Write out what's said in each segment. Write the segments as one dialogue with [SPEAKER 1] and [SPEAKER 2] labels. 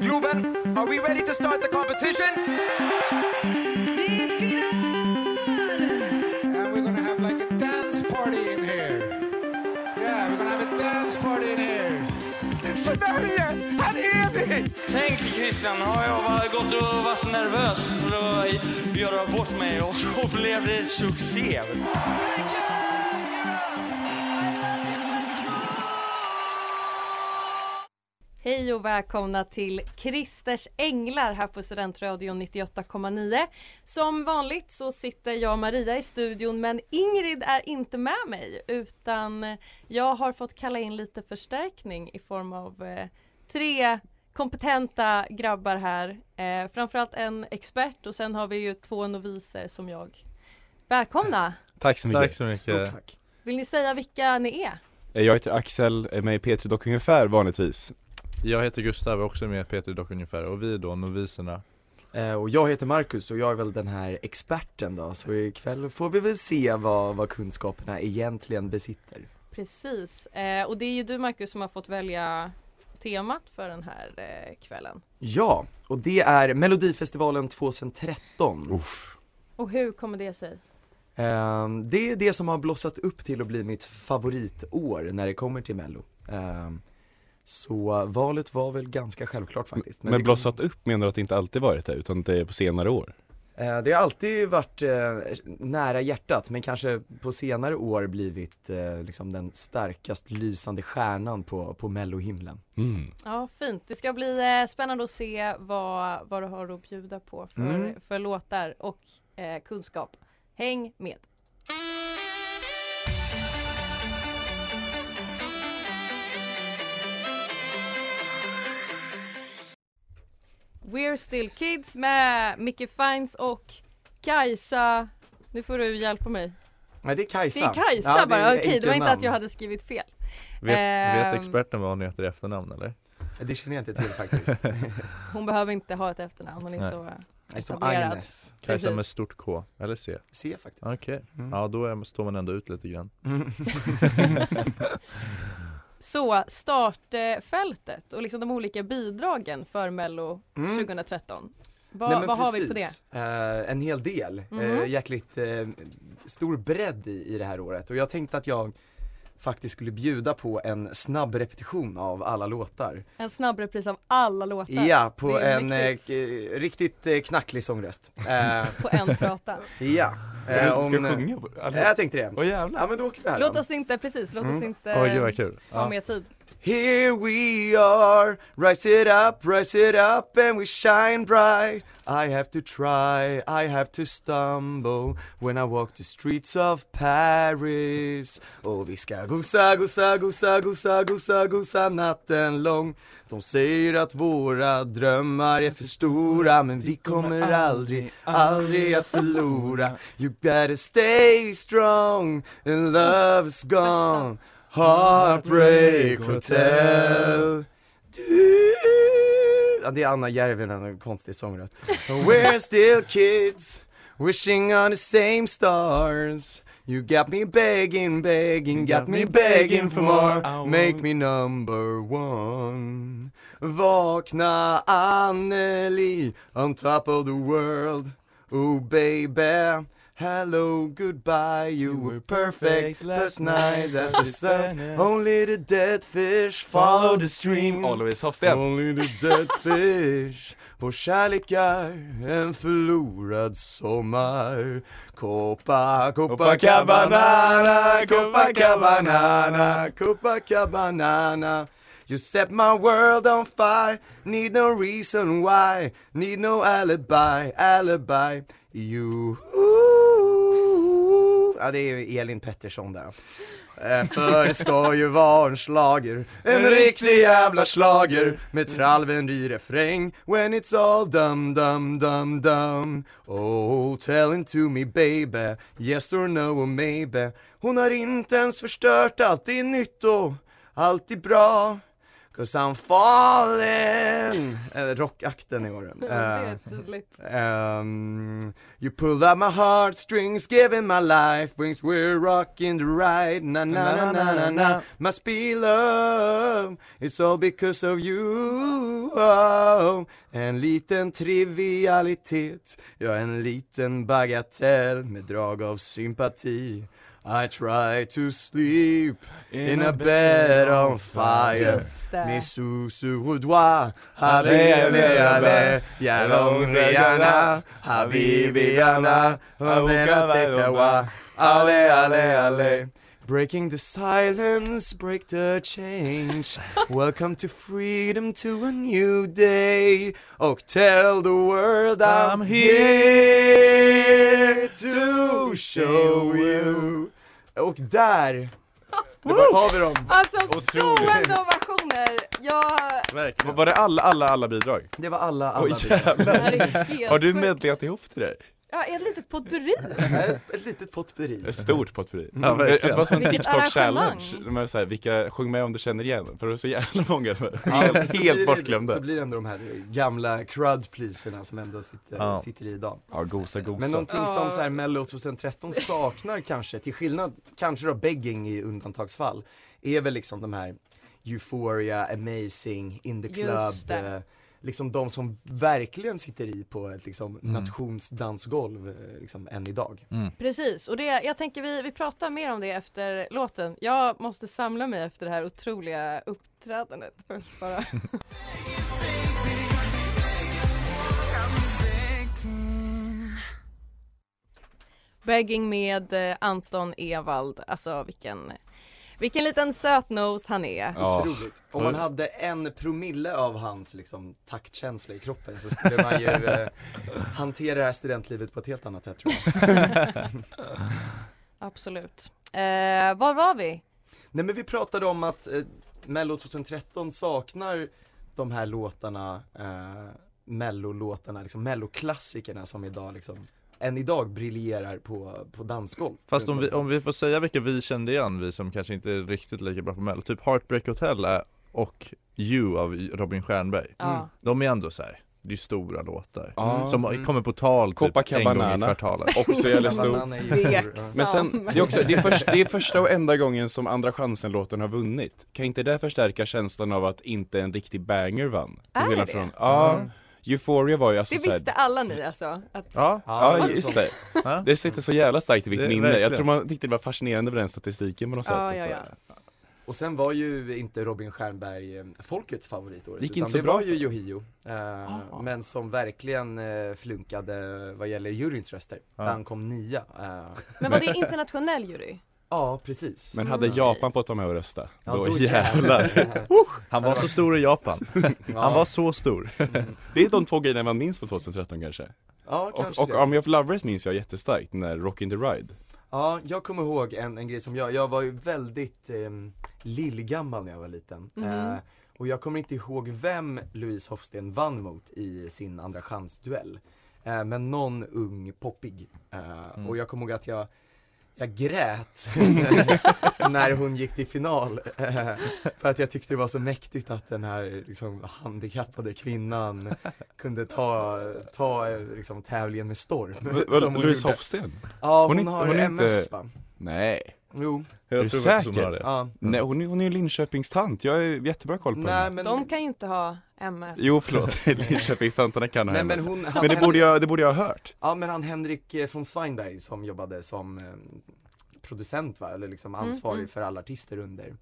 [SPEAKER 1] Globen, are we ready to start the competition?
[SPEAKER 2] And we're gonna have like a dance party in here. Yeah, we're gonna have a dance party in here.
[SPEAKER 1] Sverige, här är vi!
[SPEAKER 3] Tänk Christian, har jag varit- gått och varit nervös för att göra bort mig och så blev det succé.
[SPEAKER 4] Hej och välkomna till Kristers änglar här på Studentradion 98,9. Som vanligt så sitter jag och Maria i studion men Ingrid är inte med mig utan jag har fått kalla in lite förstärkning i form av eh, tre kompetenta grabbar här. Eh, framförallt en expert och sen har vi ju två noviser som jag. Välkomna!
[SPEAKER 5] Tack så mycket.
[SPEAKER 6] Tack så mycket.
[SPEAKER 4] Vill ni säga vilka ni är?
[SPEAKER 5] Eh, Jag heter Axel, är med i P3 Dock ungefär vanligtvis.
[SPEAKER 6] Jag heter Gustav och också är med i Peter Dock ungefär och vi är då noviserna.
[SPEAKER 7] Eh, och jag heter Marcus och jag är väl den här experten då, så ikväll får vi väl se vad, vad kunskaperna egentligen besitter.
[SPEAKER 4] Precis, eh, och det är ju du Marcus som har fått välja temat för den här eh, kvällen.
[SPEAKER 7] Ja, och det är Melodifestivalen 2013.
[SPEAKER 5] Uff.
[SPEAKER 4] Och hur kommer det sig?
[SPEAKER 7] Ehm, det är det som har blossat upp till att bli mitt favoritår när det kommer till Mello. Ehm, så valet var väl ganska självklart faktiskt.
[SPEAKER 5] Men,
[SPEAKER 7] det-
[SPEAKER 5] blossat upp menar du att det inte alltid varit det utan det är på senare år?
[SPEAKER 7] Eh, Det har alltid varit eh, nära hjärtat men kanske på senare år blivit eh, liksom den starkast lysande stjärnan på, på mellohimlen.
[SPEAKER 5] Mm.
[SPEAKER 4] Ja, fint. Det ska bli eh, spännande att se vad, vad du har att bjuda på för,
[SPEAKER 7] Mm.
[SPEAKER 4] för låtar och eh, kunskap. Häng med! We're still kids med Micke Fines och Kajsa. Nu får du hjälpa mig.
[SPEAKER 7] Nej det är Kajsa.
[SPEAKER 4] Det är Kajsa
[SPEAKER 7] Ja,
[SPEAKER 4] bara,
[SPEAKER 7] är
[SPEAKER 4] okej det var inte
[SPEAKER 7] enkelnamn.
[SPEAKER 4] att jag hade skrivit fel.
[SPEAKER 6] Vet,
[SPEAKER 4] Ehm.
[SPEAKER 6] vet experten vad hon heter i efternamn eller?
[SPEAKER 7] Det känner jag inte till faktiskt.
[SPEAKER 4] Hon behöver inte ha ett efternamn, hon är
[SPEAKER 6] Nej.
[SPEAKER 4] så...
[SPEAKER 7] Nej, Som
[SPEAKER 4] Etablerad.
[SPEAKER 7] Agnes.
[SPEAKER 6] Kajsa
[SPEAKER 4] Precis.
[SPEAKER 6] med stort K, eller C?
[SPEAKER 7] Se faktiskt.
[SPEAKER 6] Okej,
[SPEAKER 7] Mm.
[SPEAKER 6] ja då är, står man ändå ut lite grann.
[SPEAKER 7] Mm.
[SPEAKER 4] Så startfältet och liksom de olika bidragen för Mello
[SPEAKER 7] Mm.
[SPEAKER 4] 2013. Vad,
[SPEAKER 7] Nej, men
[SPEAKER 4] vad har vi på det?
[SPEAKER 7] precis. Eh, en hel del.
[SPEAKER 4] Mhm.
[SPEAKER 7] Eh, jäkligt eh, stor bredd i, i det här året och jag tänkte att jag faktiskt skulle bjuda på en snabb repetition av alla låtar.
[SPEAKER 4] En snabb repris av alla låtar
[SPEAKER 7] Ja, på
[SPEAKER 4] Det är
[SPEAKER 7] en
[SPEAKER 4] mäktigt.
[SPEAKER 7] eh, k- riktigt eh, knacklig sångröst. Eh,
[SPEAKER 4] på en prata.
[SPEAKER 7] ja.
[SPEAKER 5] Ska du-
[SPEAKER 7] Eh,
[SPEAKER 5] ska
[SPEAKER 7] om-
[SPEAKER 5] du sjunga? på- Alltså,
[SPEAKER 7] Eh, Jag tänkte det.
[SPEAKER 5] Åh jävlar.
[SPEAKER 7] Ja men då åker vi här
[SPEAKER 4] Låt
[SPEAKER 7] då.
[SPEAKER 4] oss inte, precis, låt oss
[SPEAKER 7] Mm.
[SPEAKER 4] inte
[SPEAKER 6] Oj gud vad kul.
[SPEAKER 4] ta mer tid.
[SPEAKER 7] Here we are, rise it up, rise it up and we shine bright I have to try, I have to stumble when I walk the streets of Paris Och vi ska gosa, gosa, gosa, gosa, gosa, gosa natten lång De säger att våra drömmar är för stora men vi kommer aldrig, aldrig att förlora You better stay strong and love's gone Heartbreak Hotel du... ja, Det är Anna Järvinen, en konstig sångröst We're still kids Wishing on the same stars You got me begging, begging, got me begging for more Make me number one Vakna Anneli on top of the world Oh baby Hello, goodbye, you, were perfect, last night at the sun Only the dead fish follow the stream
[SPEAKER 5] Louise Hofsten.
[SPEAKER 7] Only the dead fish Vår kärlek är en förlorad sommar Copa, Copacabana, Copacabana, Copacabana You set my world on fire Need no reason why Need no alibi, alibi You Ja, det är Elin Pettersson där. Eh, För det ska ju vara en slager En riktig jävla slager Med trallvänlig refräng When it's all dum dum dum dum Oh, tell it to me baby Yes or no or maybe Hon har inte ens förstört allt i nytto Allt är bra Cause I'm falling eh, Rockakten i år
[SPEAKER 4] Det
[SPEAKER 7] Eh,
[SPEAKER 4] är tydligt.
[SPEAKER 7] Um, you pulled out my heartstrings, giving my life wings. We're rocking the ride, na na na na na na. Must be love, it's all because of you. Oh, en liten trivialitet, ja en liten bagatell med drag av sympati. I try to sleep in a bed on fire.
[SPEAKER 4] Just det.
[SPEAKER 7] Mes sous au doigt,
[SPEAKER 6] Allez,
[SPEAKER 7] Habibi,
[SPEAKER 6] allez,
[SPEAKER 7] allez,
[SPEAKER 6] allez.
[SPEAKER 7] Yalong Rihanna, Habibiana, Havana Tekawa, allez, allez, allez. Breaking the silence, break the change. Welcome to freedom to a new day. Och tell the world I'm,
[SPEAKER 6] I'm
[SPEAKER 7] here to show you. Och där, där har vi dem.
[SPEAKER 4] Alltså stående ovationer! Jag...
[SPEAKER 5] Var det alla, alla, alla bidrag?
[SPEAKER 7] Det var alla, Mm. alla.
[SPEAKER 5] Oj,
[SPEAKER 7] bidrag.
[SPEAKER 4] Det här är helt
[SPEAKER 5] Har du
[SPEAKER 4] sjukt.
[SPEAKER 5] medlat ihop det där?
[SPEAKER 4] Ja, ett litet potpurri.
[SPEAKER 7] Ett- Ett litet potpurri.
[SPEAKER 5] Ett stort potpurri.
[SPEAKER 7] Mm.
[SPEAKER 5] Ja, verkligen. Det var som en
[SPEAKER 4] Vilket
[SPEAKER 5] TikTok-challenge.
[SPEAKER 4] arrangemang.
[SPEAKER 5] De är så här, vilka, sjung med om du känner igen, för det är så jävla många som är
[SPEAKER 7] Ja, men
[SPEAKER 5] helt,
[SPEAKER 7] så
[SPEAKER 5] helt
[SPEAKER 7] blir det- Så
[SPEAKER 5] bortglömda.
[SPEAKER 7] blir det ändå de här gamla crud pleaserna som ändå sitter,
[SPEAKER 6] Ja.
[SPEAKER 7] sitter i idag.
[SPEAKER 5] Ja, gosa gosa.
[SPEAKER 7] Men någonting
[SPEAKER 4] Ja.
[SPEAKER 7] som så här Mello 2013 saknar kanske, till skillnad kanske då begging i undantagsfall, är väl liksom de här Euphoria, Amazing, In the
[SPEAKER 4] Just
[SPEAKER 7] Club,
[SPEAKER 4] det.
[SPEAKER 7] eh, liksom de som verkligen sitter i på ett liksom
[SPEAKER 6] Mm.
[SPEAKER 7] nationsdansgolv eh, liksom än idag.
[SPEAKER 4] Precis, och det, jag tänker vi, vi pratar mer om det efter låten. Jag måste samla mig efter det här otroliga uppträdandet först bara. Begging med eh, Anton Ewald, alltså vilken, vilken liten sötnos han är.
[SPEAKER 5] Ja.
[SPEAKER 7] Otroligt. Om man hade en promille av hans liksom taktkänsla i kroppen så skulle man ju eh, hantera det här studentlivet på ett helt annat sätt tror jag.
[SPEAKER 4] Absolut. Eh, var var vi?
[SPEAKER 7] Nej men vi pratade om att eh, Mello 2013 saknar de här låtarna, eh, Mello-låtarna, liksom Mello-klassikerna som idag liksom, än idag briljerar på, på dansgolv.
[SPEAKER 6] Fast om vi, om vi får säga vilka vi kände igen, vi som kanske inte är riktigt lika bra på Mello, typ Heartbreak Hotel är- och You av Robin Stjernberg
[SPEAKER 4] Ja.
[SPEAKER 6] De är ändå så här. det är stora låtar
[SPEAKER 5] Ja.
[SPEAKER 6] Som
[SPEAKER 7] Mm.
[SPEAKER 6] kommer på tal typ en gång i
[SPEAKER 5] Copacabana.
[SPEAKER 6] kvartalet
[SPEAKER 5] Också jävligt stort.
[SPEAKER 7] Banana är ju stor, ja.
[SPEAKER 5] Men sen, det är, också, det, är först, det är första och enda gången som Andra chansen-låten har vunnit. Kan inte det förstärka känslan av att inte en riktig banger vann? Till
[SPEAKER 4] Är
[SPEAKER 5] skillnad
[SPEAKER 4] det?
[SPEAKER 5] Från, ja, Euphoria var ju alltså
[SPEAKER 4] Det
[SPEAKER 5] så här-
[SPEAKER 4] visste alla ni alltså? Att...
[SPEAKER 6] Ja,
[SPEAKER 5] Ja,
[SPEAKER 7] Ja,
[SPEAKER 5] just
[SPEAKER 7] det.
[SPEAKER 5] det.
[SPEAKER 6] Ja.
[SPEAKER 5] Det sitter så jävla starkt i mitt
[SPEAKER 6] Det-
[SPEAKER 5] minne. Jag
[SPEAKER 6] verkligen.
[SPEAKER 5] tror man tyckte det var fascinerande med den statistiken på något
[SPEAKER 4] Ja,
[SPEAKER 5] sätt.
[SPEAKER 4] ja,
[SPEAKER 5] Att,
[SPEAKER 4] ja.
[SPEAKER 5] eh,
[SPEAKER 7] Och sen var ju inte Robin Stjernberg eh, folkets favorit året,
[SPEAKER 5] Det gick
[SPEAKER 7] utan
[SPEAKER 5] inte så
[SPEAKER 7] det
[SPEAKER 5] bra
[SPEAKER 7] var ju
[SPEAKER 5] för.
[SPEAKER 7] Yohio, eh, men som verkligen eh, flunkade vad gäller juryns röster,
[SPEAKER 6] Ja.
[SPEAKER 7] där han kom nia. Eh,
[SPEAKER 4] Men var det internationell jury?
[SPEAKER 7] ja, precis.
[SPEAKER 5] Men hade
[SPEAKER 4] Mm.
[SPEAKER 5] Japan fått vara med och rösta,
[SPEAKER 7] ja,
[SPEAKER 5] då, jävlar.
[SPEAKER 6] han var så stor i Japan, han var så stor
[SPEAKER 7] Mm.
[SPEAKER 5] Det är de två grejerna man minns på 2013 kanske.
[SPEAKER 7] Ja,
[SPEAKER 5] Och,
[SPEAKER 7] kanske
[SPEAKER 5] och
[SPEAKER 7] det.
[SPEAKER 5] Army of Lovers minns jag jättestarkt, när Rockin' the Ride.
[SPEAKER 7] Ja, jag kommer ihåg en, en grej som jag, jag var ju väldigt eh, lillgammal när jag var liten.
[SPEAKER 4] Mhm.
[SPEAKER 7] Eh, och jag kommer inte ihåg vem Louise Hofsten vann mot i sin andra chans-duell. Eh, men någon ung poppig. Eh,
[SPEAKER 6] Mm.
[SPEAKER 7] Och jag kommer ihåg att jag, jag grät när hon gick till final. Eh, för att jag tyckte det var så mäktigt att den här liksom, handikappade kvinnan kunde ta, ta eh, liksom, tävlingen med storm. som hon
[SPEAKER 5] Louise
[SPEAKER 7] gjorde.
[SPEAKER 5] Hofsten?
[SPEAKER 7] Ja, hon,
[SPEAKER 5] Hon är inte-
[SPEAKER 7] har
[SPEAKER 5] hon är inte-
[SPEAKER 7] MS va?
[SPEAKER 5] Nej.
[SPEAKER 7] Jo,
[SPEAKER 5] Är du
[SPEAKER 6] Jag tror faktiskt
[SPEAKER 5] säker?
[SPEAKER 6] de har det
[SPEAKER 7] ja.
[SPEAKER 5] Nej, hon är, hon är ju Linköpingstant, jag har ju jättebra koll på
[SPEAKER 7] Nej
[SPEAKER 5] henne.
[SPEAKER 7] men,
[SPEAKER 4] De kan ju inte ha MS.
[SPEAKER 5] Jo förlåt, Linköpingstanterna kan ha
[SPEAKER 7] nej,
[SPEAKER 5] men,
[SPEAKER 7] men hon, han,
[SPEAKER 5] men det
[SPEAKER 7] Hen-
[SPEAKER 5] borde jag, det borde jag ha hört.
[SPEAKER 7] ja men han Henrik eh, von Sweinberg som jobbade som eh, producent va, eller liksom ansvarig
[SPEAKER 4] mm.
[SPEAKER 7] för alla artister under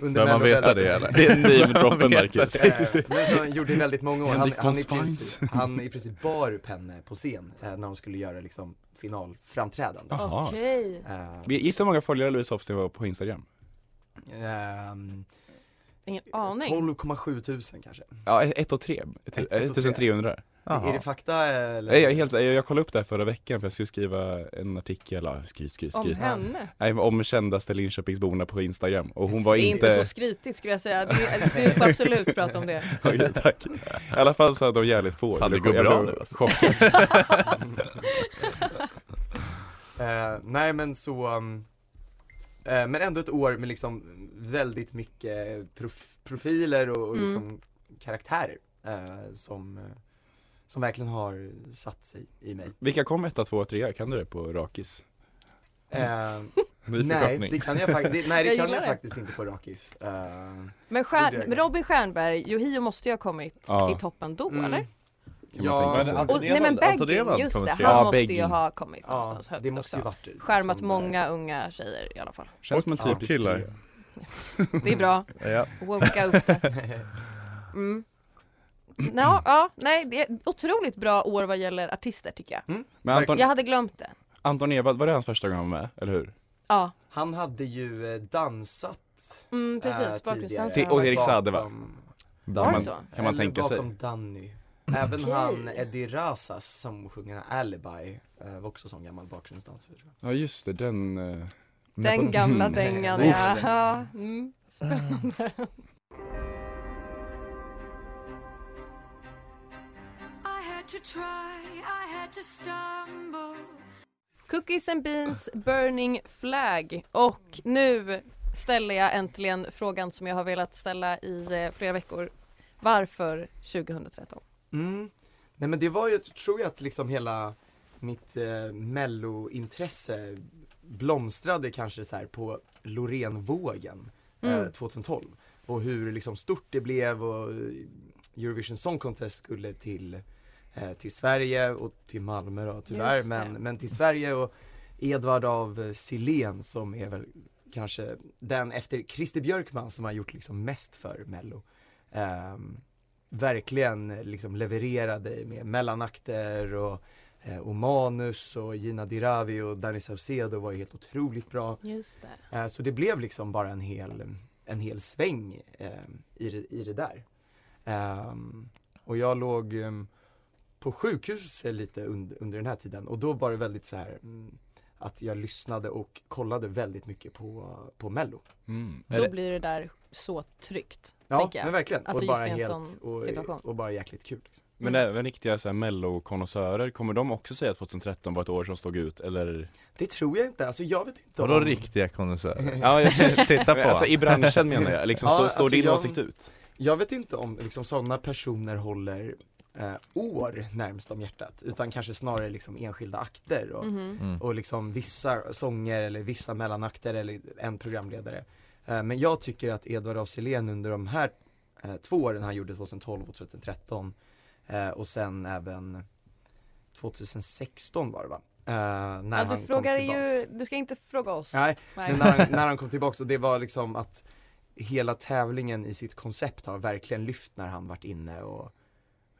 [SPEAKER 6] Bör man
[SPEAKER 7] Mello
[SPEAKER 6] veta
[SPEAKER 7] väldigt-
[SPEAKER 6] det eller?
[SPEAKER 5] Det är name-droppen,
[SPEAKER 6] Veta
[SPEAKER 5] Marcus.
[SPEAKER 7] Eh, Men som han gjorde i väldigt många år, han,
[SPEAKER 5] Henrik von
[SPEAKER 7] han, i
[SPEAKER 5] Swans.
[SPEAKER 7] princip, han i princip bar upp henne på scen eh, när hon skulle göra liksom finalframträdande
[SPEAKER 5] Jaha.
[SPEAKER 4] Okej.
[SPEAKER 7] Eh,
[SPEAKER 5] Gissa hur många följare Louise Hofsten var på Instagram?
[SPEAKER 7] ehm,
[SPEAKER 4] Ingen aning.
[SPEAKER 7] 12,7 tusen kanske
[SPEAKER 5] Ja, ett och tre. Ett-
[SPEAKER 7] Ett- ett och tre.
[SPEAKER 5] 1300. Jaha.
[SPEAKER 7] Är det fakta eh, eller?
[SPEAKER 5] Nej jag, är helt, jag, jag kollade upp det här förra veckan för jag skulle skriva en artikel, ja, skryt, skryt,
[SPEAKER 4] Om
[SPEAKER 5] skryt.
[SPEAKER 4] henne?
[SPEAKER 5] Nej, men om kändaste Linköpingsborna på Instagram och hon var
[SPEAKER 4] Det är
[SPEAKER 5] inte...
[SPEAKER 4] inte så skrytigt skulle jag säga. Det, du får absolut prata om det.
[SPEAKER 5] Okej, tack. I alla fall så hade de jävligt få.
[SPEAKER 6] Fan, det
[SPEAKER 5] Jag
[SPEAKER 6] går
[SPEAKER 5] blev-
[SPEAKER 6] bra
[SPEAKER 5] jag blev
[SPEAKER 6] nu, alltså.
[SPEAKER 5] chockad.
[SPEAKER 7] Eh, nej men så, um, eh, men ändå ett år med liksom väldigt mycket prof- profiler och, och
[SPEAKER 4] Mm.
[SPEAKER 7] liksom karaktärer eh, som, eh, som verkligen har satt sig i mig.
[SPEAKER 5] Vilka kom etta, tvåa, trea? Kan du det på rakis?
[SPEAKER 7] Eh,
[SPEAKER 5] Ny
[SPEAKER 7] nej,
[SPEAKER 5] förkortning.
[SPEAKER 7] det kan jag, fak- det, nej,
[SPEAKER 4] Jag
[SPEAKER 7] det kan
[SPEAKER 4] gillar
[SPEAKER 7] jag
[SPEAKER 4] det.
[SPEAKER 7] faktiskt inte på rakis. Eh,
[SPEAKER 4] Men
[SPEAKER 7] Det gjorde
[SPEAKER 4] Stjärn,
[SPEAKER 7] jag.
[SPEAKER 4] Robin Stjernberg, Yohio måste ju ha kommit
[SPEAKER 5] Ja.
[SPEAKER 4] i toppen då
[SPEAKER 7] mm.
[SPEAKER 4] eller?
[SPEAKER 5] Kan man tänka
[SPEAKER 7] Ja,
[SPEAKER 5] sig.
[SPEAKER 6] Anton
[SPEAKER 4] Och, nej men
[SPEAKER 6] Ewald- Anton
[SPEAKER 4] Bagging,
[SPEAKER 6] Ewald
[SPEAKER 4] just
[SPEAKER 6] kommer
[SPEAKER 4] det, han
[SPEAKER 6] trea.
[SPEAKER 5] Ja,
[SPEAKER 4] måste ju
[SPEAKER 5] Bagging.
[SPEAKER 4] ha kommit
[SPEAKER 7] ja,
[SPEAKER 4] någonstans högt
[SPEAKER 7] det måste ju
[SPEAKER 4] också.
[SPEAKER 7] varit
[SPEAKER 4] Skärmat
[SPEAKER 7] liksom,
[SPEAKER 4] många unga tjejer i alla fall.
[SPEAKER 5] Känns som en
[SPEAKER 6] Och
[SPEAKER 5] typisk
[SPEAKER 6] killar.
[SPEAKER 5] trea.
[SPEAKER 4] Det är bra,
[SPEAKER 6] Ja.
[SPEAKER 4] woka upp det. Mm. Ja, ja, nej, det är otroligt bra år vad gäller artister tycker jag.
[SPEAKER 7] Mm?
[SPEAKER 5] Men Anton,
[SPEAKER 4] Jag hade glömt det.
[SPEAKER 5] Anton Ewald, var det hans första gång han var med? Eller hur?
[SPEAKER 4] Ja,
[SPEAKER 7] Han hade ju eh, dansat
[SPEAKER 4] mm,
[SPEAKER 7] eh,
[SPEAKER 4] precis,
[SPEAKER 7] tidigare.
[SPEAKER 4] bakgrundsdansare.
[SPEAKER 5] Till- och Erik Mm. Saade, va?
[SPEAKER 7] Bakom-
[SPEAKER 4] Var det
[SPEAKER 5] Kan man,
[SPEAKER 4] så?
[SPEAKER 5] kan man
[SPEAKER 7] Eller
[SPEAKER 5] tänka sig?
[SPEAKER 7] bakom Danny. Även
[SPEAKER 4] Okej.
[SPEAKER 7] han Eddie Razas som sjunger Alibi eh, var också sån gammal bakgrundsdansare tror jag.
[SPEAKER 5] Ja just det, den... eh,
[SPEAKER 4] Den
[SPEAKER 5] Mm.
[SPEAKER 4] gamla dängan,
[SPEAKER 7] Uff.
[SPEAKER 4] ja. ja. Mm. Spännande. Cookies and beans, burning flag. Och nu ställer jag äntligen frågan som jag har velat ställa i eh, flera veckor. Varför 2013?
[SPEAKER 7] Mm. Nej men det var ju, tror jag att liksom hela mitt eh, mellointresse blomstrade kanske så här på Loreenvågen eh,
[SPEAKER 4] Mm.
[SPEAKER 7] 2012. Och hur liksom stort det blev och eh, Eurovision Song Contest skulle till, eh, till Sverige och till Malmö då tyvärr
[SPEAKER 4] Just det.
[SPEAKER 7] men, men till Sverige och Edvard av Silén som är väl kanske den efter Christer Björkman som har gjort liksom mest för Mello. Ehm, verkligen liksom levererade med mellanakter och, eh, och manus och Gina Dirawi och Danny Saucedo var ju helt otroligt bra.
[SPEAKER 4] Just det.
[SPEAKER 7] Eh, så det blev liksom bara en hel, en hel sväng eh, i, det, i det där. Ehm, och jag låg em, på sjukhus lite under, under den här tiden och då var det väldigt så här mm, att jag lyssnade och kollade väldigt mycket på, på mello.
[SPEAKER 5] Mm.
[SPEAKER 4] Då blir det där så tryggt,
[SPEAKER 7] Ja,
[SPEAKER 4] tänker jag.
[SPEAKER 7] men verkligen.
[SPEAKER 4] Alltså
[SPEAKER 7] och
[SPEAKER 4] just
[SPEAKER 7] bara
[SPEAKER 4] i en
[SPEAKER 7] helt,
[SPEAKER 4] sån situation.
[SPEAKER 7] och, och bara jäkligt kul. Liksom.
[SPEAKER 5] Men även riktiga så här mellokonnässörer, kommer de också säga att 2013 var ett år som stod ut eller?
[SPEAKER 7] Det tror jag inte, alltså jag vet inte
[SPEAKER 6] Vadå riktiga konnässörer?
[SPEAKER 5] Ja, jag,
[SPEAKER 6] Titta på
[SPEAKER 5] alltså i branschen menar jag, liksom,
[SPEAKER 7] Ja,
[SPEAKER 5] står,
[SPEAKER 7] alltså,
[SPEAKER 5] står din
[SPEAKER 7] jag-
[SPEAKER 5] åsikt ut?
[SPEAKER 7] Jag vet inte om liksom sådana personer håller eh, år närmst om hjärtat utan kanske snarare liksom enskilda akter och,
[SPEAKER 4] Mhm.
[SPEAKER 6] Mm.
[SPEAKER 7] och liksom vissa sånger eller vissa mellanakter eller en programledare. Eh, men jag tycker att Edvard af Sillén under de här eh, två åren han gjorde 2012 och 2013 eh, och sen även 2016 var det va? Eh, när
[SPEAKER 4] Ja,
[SPEAKER 7] han
[SPEAKER 4] du
[SPEAKER 7] kom
[SPEAKER 4] frågar
[SPEAKER 7] tillbaks.
[SPEAKER 4] ju, du ska inte fråga oss.
[SPEAKER 7] Nej,
[SPEAKER 4] Nej.
[SPEAKER 7] Men när han, när han kom tillbaka och det var liksom att hela tävlingen i sitt koncept har verkligen lyft när han varit inne och,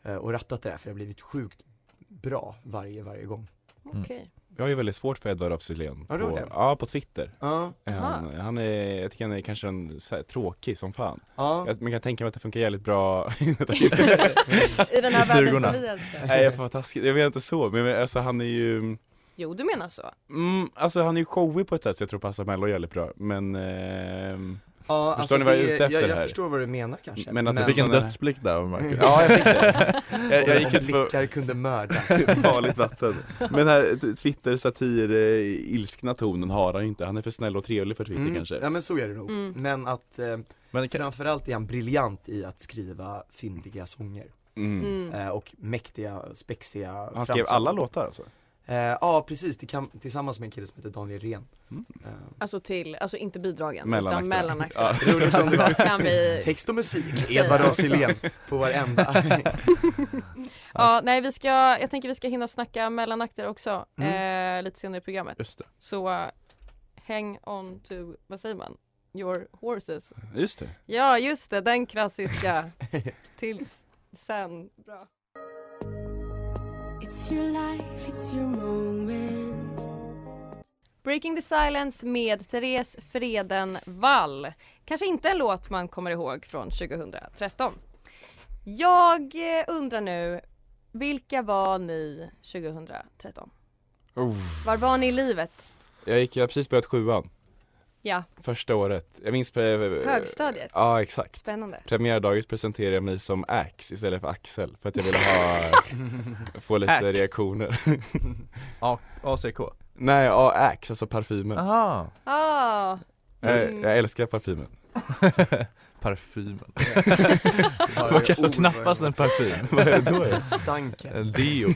[SPEAKER 7] eh, och rattat det där för det har blivit sjukt bra varje, varje gång.
[SPEAKER 4] Okej.
[SPEAKER 5] Jag har ju väldigt svårt för Edvard af Sillén
[SPEAKER 7] Ja, du har
[SPEAKER 5] på,
[SPEAKER 7] det?
[SPEAKER 5] ja, på Twitter.
[SPEAKER 7] Ja,
[SPEAKER 5] Han, han är, jag tycker han är kanske en, så här, tråkig som fan.
[SPEAKER 7] ja.
[SPEAKER 5] Jag, man kan tänka mig att det funkar jävligt bra
[SPEAKER 4] I den här
[SPEAKER 6] I
[SPEAKER 4] världen
[SPEAKER 6] stugorna.
[SPEAKER 4] som vi älskar.
[SPEAKER 5] Nej jag får vara taskig, jag menar inte så, men men, alltså han är ju
[SPEAKER 4] Jo, du menar så.
[SPEAKER 5] mm, Alltså han är ju showig på ett sätt så jag tror passar Mello jävligt bra, men ehm,
[SPEAKER 7] ja alltså
[SPEAKER 5] Förstår ni vad jag är ute
[SPEAKER 7] det-
[SPEAKER 5] efter
[SPEAKER 7] jag, jag
[SPEAKER 5] här?
[SPEAKER 7] förstår vad du menar kanske. alltså-
[SPEAKER 5] Men att det
[SPEAKER 6] Du fick en
[SPEAKER 5] sån här-
[SPEAKER 6] dödsblick där av
[SPEAKER 7] Mm.
[SPEAKER 6] Marcus.
[SPEAKER 5] Ja jag fick det Jag, jag gick
[SPEAKER 7] om
[SPEAKER 5] ut på
[SPEAKER 7] blickar kunde mörda.
[SPEAKER 5] farligt vatten Men här t- Twitter, satir, eh, ilskna tonen har han ju inte, han är för snäll och trevlig för Twitter
[SPEAKER 7] Mm.
[SPEAKER 5] kanske
[SPEAKER 7] Ja men så är det nog.
[SPEAKER 4] Mm.
[SPEAKER 7] Men att eh,
[SPEAKER 6] Men kan,
[SPEAKER 7] framförallt är han briljant i att skriva fyndiga sånger.
[SPEAKER 5] Mm.
[SPEAKER 4] Mm.
[SPEAKER 7] Eh, och mäktiga, spexiga
[SPEAKER 5] Han skrev
[SPEAKER 7] framsång.
[SPEAKER 5] alla låtar alltså?
[SPEAKER 7] Eh, ja precis, till kam- tillsammans med en kille som heter Daniel Rehn.
[SPEAKER 5] Mm.
[SPEAKER 7] Eh,
[SPEAKER 4] Alltså till, alltså inte bidragen,
[SPEAKER 5] Mellanakterna.
[SPEAKER 4] utan mellanakterna.
[SPEAKER 5] Ja.
[SPEAKER 7] Roligt om det var
[SPEAKER 4] kan vi...
[SPEAKER 7] text och musik,
[SPEAKER 4] Säga
[SPEAKER 7] Edvard af
[SPEAKER 4] också.
[SPEAKER 7] Sillén på varenda.
[SPEAKER 4] Ja, nej vi ska, jag tänker vi ska hinna snacka mellanakter också eh, lite senare i programmet.
[SPEAKER 6] just det.
[SPEAKER 4] Så eh, hang on to, vad säger man? Your horses.
[SPEAKER 5] Just det
[SPEAKER 4] Ja, just det, den klassiska. Tills sen. Bra.
[SPEAKER 8] It's your life, it's your moment.
[SPEAKER 4] Breaking the silence med Therese Freden Wall. Kanske inte en låt man kommer ihåg från 2013. Jag eh, undrar nu, Vilka var ni 2013?
[SPEAKER 5] Oh.
[SPEAKER 4] Var var ni i livet?
[SPEAKER 5] Jag gick, jag har precis börjat sjuan,
[SPEAKER 4] Ja,
[SPEAKER 5] första året. Jag minns... pre-
[SPEAKER 4] högstadiet.
[SPEAKER 5] Eh, Ja, exakt.
[SPEAKER 4] Spännande.
[SPEAKER 5] Premiärdagis presenterade jag mig som Ax istället för Axel för att jag ville ha, få lite
[SPEAKER 6] Ack.
[SPEAKER 5] reaktioner.
[SPEAKER 6] A- ACK?
[SPEAKER 5] Nej, ja, Ax, alltså parfymen.
[SPEAKER 6] Aha.
[SPEAKER 4] Ah,
[SPEAKER 5] Jag, jag älskar parfymen.
[SPEAKER 6] Parfymen.
[SPEAKER 5] Vad
[SPEAKER 6] Vad
[SPEAKER 5] är
[SPEAKER 6] kan-
[SPEAKER 5] ord?
[SPEAKER 6] Knappast en parfym.
[SPEAKER 5] Vad är det då? ja?
[SPEAKER 7] Stanken.
[SPEAKER 6] En deo.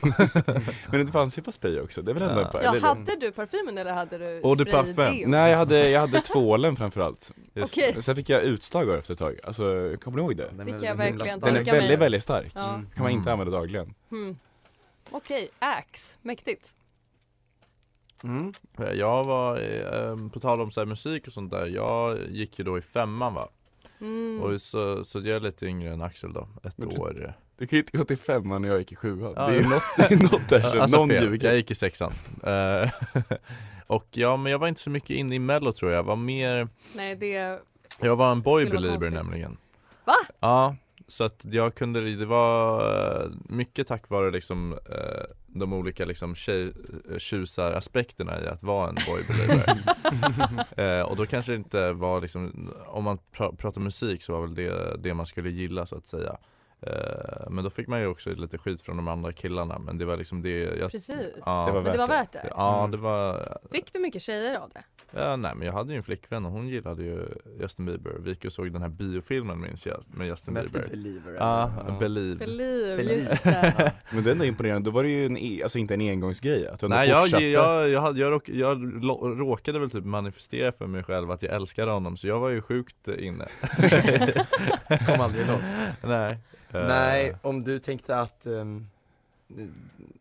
[SPEAKER 5] Men det fanns ju på spray också, det är väl ändå en par-
[SPEAKER 4] ja,
[SPEAKER 5] eller-
[SPEAKER 4] hade du parfymen eller hade du
[SPEAKER 5] Och du
[SPEAKER 4] spraydeo?
[SPEAKER 5] Nej jag hade, jag hade tvålen framförallt
[SPEAKER 4] Just det. Okej.
[SPEAKER 5] Sen fick jag utslag av efter ett tag, alltså kommer du ihåg det? Den
[SPEAKER 4] är Fick jag himla verkligen stark.
[SPEAKER 5] Den är
[SPEAKER 4] tänka mig.
[SPEAKER 5] väldigt, väldigt stark,
[SPEAKER 4] Ja.
[SPEAKER 5] kan man inte
[SPEAKER 6] Mm.
[SPEAKER 5] använda dagligen
[SPEAKER 4] Hmm. Okej, Axe, mäktigt.
[SPEAKER 6] Mm. Jag var, eh, på tal om så här musik och sånt där, jag gick ju då i femman va?
[SPEAKER 4] Mm.
[SPEAKER 6] Och så, så jag är lite yngre än Axel då, ett
[SPEAKER 5] Men du-
[SPEAKER 6] år
[SPEAKER 5] Du kan ju inte gå till femman när jag gick i sjuan,
[SPEAKER 6] Ja,
[SPEAKER 5] det är ju
[SPEAKER 6] ja.
[SPEAKER 5] något, det är något där som
[SPEAKER 6] Alltså
[SPEAKER 5] någon
[SPEAKER 6] fel.
[SPEAKER 5] ljuger
[SPEAKER 6] Jag gick i sexan Eh, Och ja, men jag var inte så mycket inne i mello tror jag, jag var mer
[SPEAKER 4] Nej, det...
[SPEAKER 6] Jag var en boy
[SPEAKER 4] Skulle vara
[SPEAKER 6] belieber
[SPEAKER 4] konstigt.
[SPEAKER 6] nämligen
[SPEAKER 4] Va?
[SPEAKER 6] Ja, så att jag kunde, det var eh, mycket tack vare liksom eh, de olika liksom tjej, eh, tjusaraspekterna i att vara en boy belieber eh, Och då kanske det inte var liksom, om man pra- pratar musik så var väl det det man skulle gilla så att säga Eh, men då fick man ju också lite skit från de andra killarna men det var liksom det jag
[SPEAKER 4] Precis.
[SPEAKER 6] Ja.
[SPEAKER 5] Det var
[SPEAKER 4] Men det var värt det.
[SPEAKER 6] Ja
[SPEAKER 5] Mm.
[SPEAKER 6] det var,
[SPEAKER 4] Fick du mycket tjejer
[SPEAKER 7] Mm.
[SPEAKER 4] av det?
[SPEAKER 6] Ja, nej men jag hade ju en flickvän och hon gillade ju Justin Bieber. Vi gick och såg den här biofilmen minns jag med Justin Bieber.
[SPEAKER 7] Believer.
[SPEAKER 6] Ja,
[SPEAKER 5] Ja.
[SPEAKER 6] Believe.
[SPEAKER 4] Believe,
[SPEAKER 7] Believe.
[SPEAKER 4] just det.
[SPEAKER 5] Men det är ändå imponerande, då var det ju en, e- alltså inte en engångsgrej att du ändå
[SPEAKER 6] Nej jag,
[SPEAKER 5] fortsatte.
[SPEAKER 6] jag, jag, hade, jag, råk, jag lo- råkade väl typ manifestera för mig själv att jag älskade honom så jag var ju sjukt inne.
[SPEAKER 7] Kom aldrig loss.
[SPEAKER 6] nej. Eh,
[SPEAKER 7] Nej, om du tänkte att ehm,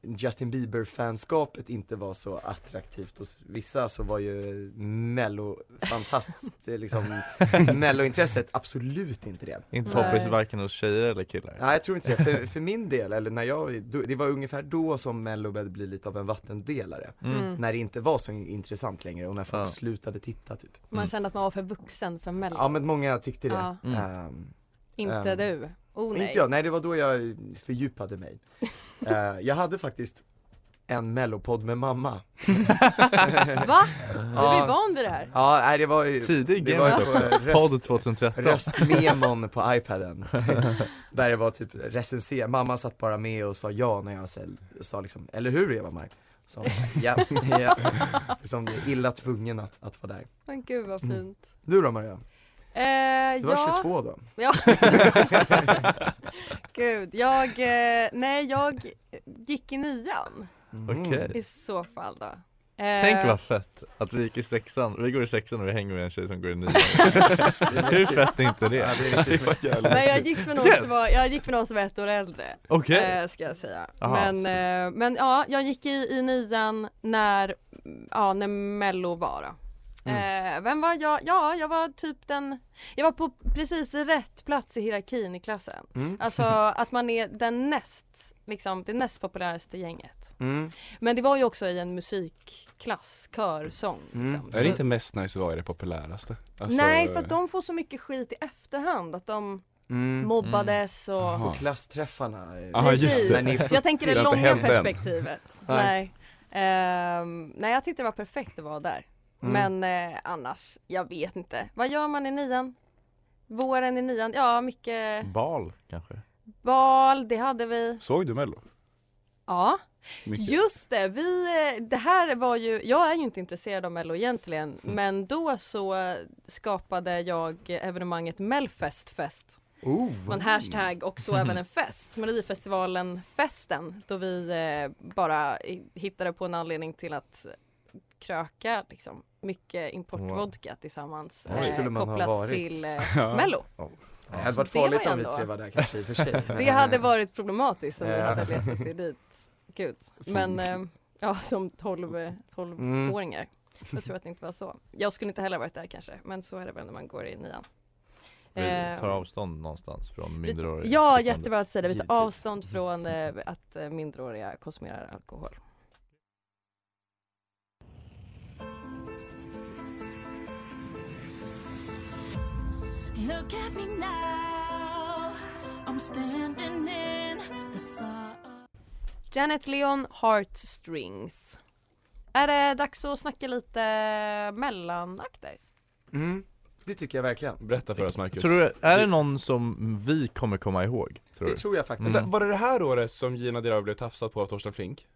[SPEAKER 7] Justin Bieber-fanskapet inte var så attraktivt hos vissa så var ju mello fantast, liksom, mellointresset absolut inte det.
[SPEAKER 6] Inte
[SPEAKER 4] Nej.
[SPEAKER 6] poppis varken hos tjejer eller killar.
[SPEAKER 7] Nej jag tror inte det, för, för min del, eller när jag, då- det var ungefär då som mello började bli lite av en vattendelare.
[SPEAKER 6] Mm.
[SPEAKER 7] När det inte var så in- intressant längre och när folk
[SPEAKER 6] Ja.
[SPEAKER 7] slutade titta typ.
[SPEAKER 4] Man kände att man var för vuxen för Mello.
[SPEAKER 7] Ja men många tyckte det.
[SPEAKER 4] Ja.
[SPEAKER 6] Mm.
[SPEAKER 7] Ehm,
[SPEAKER 4] Inte
[SPEAKER 7] Ehm,
[SPEAKER 4] du. Oh nej.
[SPEAKER 7] Inte jag, nej det var då jag fördjupade mig. Eh, jag hade faktiskt en mellopodd med mamma.
[SPEAKER 4] Va? Du är van vid det här.
[SPEAKER 7] Ja, nej det var ju,
[SPEAKER 6] Tidig
[SPEAKER 7] det var
[SPEAKER 6] game
[SPEAKER 7] ju
[SPEAKER 6] också.
[SPEAKER 7] på röst,
[SPEAKER 6] Podd 2013.
[SPEAKER 7] röstmemon på iPaden. Där det var typ recensera, mamma satt bara med och sa ja när jag sa, sa liksom, eller hur Eva-Maj? Så hon sa, ja, ja. Liksom illa tvungen att, att vara där.
[SPEAKER 4] Men gud vad
[SPEAKER 6] Mm.
[SPEAKER 4] fint.
[SPEAKER 7] Du då Maria?
[SPEAKER 4] Eh,
[SPEAKER 7] Du var
[SPEAKER 4] ja,
[SPEAKER 7] 22 då?
[SPEAKER 4] Ja. Gud, jag, eh, nej jag gick i nian
[SPEAKER 7] Mhm.
[SPEAKER 6] Okej.
[SPEAKER 4] i så fall då. Eh,
[SPEAKER 6] Tänk vad fett att vi gick i sexan, vi går i sexan och vi hänger med en tjej som går i nian. Hur fett är inte det?
[SPEAKER 7] Eh,
[SPEAKER 4] Men jag gick med någon,
[SPEAKER 6] Yes!
[SPEAKER 4] som, var, jag gick med någon som var ett år äldre,
[SPEAKER 6] Okej.
[SPEAKER 4] eh, ska jag säga.
[SPEAKER 6] Aha.
[SPEAKER 4] Men, eh, men ja, jag gick i, i nian när, ja, när mello var då.
[SPEAKER 6] Mm.
[SPEAKER 4] Eh, vem var jag? Ja, jag var typ den, jag var på precis rätt plats i hierarkin i klassen.
[SPEAKER 7] Mm,
[SPEAKER 4] Alltså att man är den näst, liksom det näst populäraste gänget.
[SPEAKER 7] Mm.
[SPEAKER 4] Men det var ju också i en musikklass, körsång liksom.
[SPEAKER 5] Mm. Är
[SPEAKER 4] Så-
[SPEAKER 5] det inte mest nice att vara i det populäraste? Alltså,
[SPEAKER 4] Nej, för att de får så mycket skit i efterhand att de
[SPEAKER 7] Mm.
[SPEAKER 4] mobbades och...
[SPEAKER 5] Jaha.
[SPEAKER 7] På klassträffarna. eh,
[SPEAKER 4] Mm.
[SPEAKER 5] Ja, just det.
[SPEAKER 4] Precis.
[SPEAKER 7] När ni-
[SPEAKER 4] Jag tänker det
[SPEAKER 5] Det har inte
[SPEAKER 4] långa
[SPEAKER 5] hänt än.
[SPEAKER 4] perspektivet.
[SPEAKER 7] Nej.
[SPEAKER 4] Nej. Ehm, nej, jag tyckte det var perfekt att vara där.
[SPEAKER 7] Mm.
[SPEAKER 4] Men eh, annars, jag vet inte. Vad gör man i nian? Våren i nian, ja mycket
[SPEAKER 6] Bal kanske?
[SPEAKER 4] bal, det hade vi.
[SPEAKER 5] Såg du mello?
[SPEAKER 4] Ja.
[SPEAKER 5] Mycket.
[SPEAKER 4] Just det, vi, eh, det här var ju, jag är ju inte intresserad av Mello egentligen,
[SPEAKER 7] Mm.
[SPEAKER 4] men då så eh, skapade jag evenemanget Melfestfest.
[SPEAKER 7] Oh.
[SPEAKER 4] Med en hashtag och så även en fest, Melodifestivalen-festen, då vi eh, bara i- hittade på en anledning till att kröka liksom, mycket importvodka tillsammans eh,
[SPEAKER 7] Var skulle man ha
[SPEAKER 4] kopplat
[SPEAKER 7] varit?
[SPEAKER 4] till eh, Mello.
[SPEAKER 7] Det hade varit
[SPEAKER 4] det var
[SPEAKER 7] farligt
[SPEAKER 4] ju
[SPEAKER 7] om vi
[SPEAKER 4] ändå-
[SPEAKER 7] tre var där kanske i och för sig. eh,
[SPEAKER 4] Det hade varit problematiskt om vi
[SPEAKER 7] Ja.
[SPEAKER 4] hade letat det dit. Gud. Men eh, ja, som 12 12-åringar. Jag tror att det inte var så. Jag skulle inte heller varit där kanske, men så är det väl när man går i nian.
[SPEAKER 6] Vi tar
[SPEAKER 4] Eh,
[SPEAKER 6] avstånd någonstans från minderåriga
[SPEAKER 4] Ja,
[SPEAKER 6] stickande.
[SPEAKER 4] jättebra att säga det. Vi
[SPEAKER 7] Givetvis. Mm.
[SPEAKER 4] tar avstånd från eh, att eh, minderåriga konsumerar alkohol.
[SPEAKER 8] Look at me now. I'm standing in the sun.
[SPEAKER 4] Janet Leon, Heartstrings. Är det dags att snacka lite mellanakter?
[SPEAKER 7] Mm. Det tycker jag verkligen.
[SPEAKER 5] Berätta för oss Marcus.
[SPEAKER 6] Tror du, är det någon som vi kommer komma ihåg? Tror
[SPEAKER 7] Det
[SPEAKER 6] du?
[SPEAKER 7] tror jag faktiskt.
[SPEAKER 5] Vänta, Var det det här året som Gina Dirawi blev tafsad på av Torsten Flink?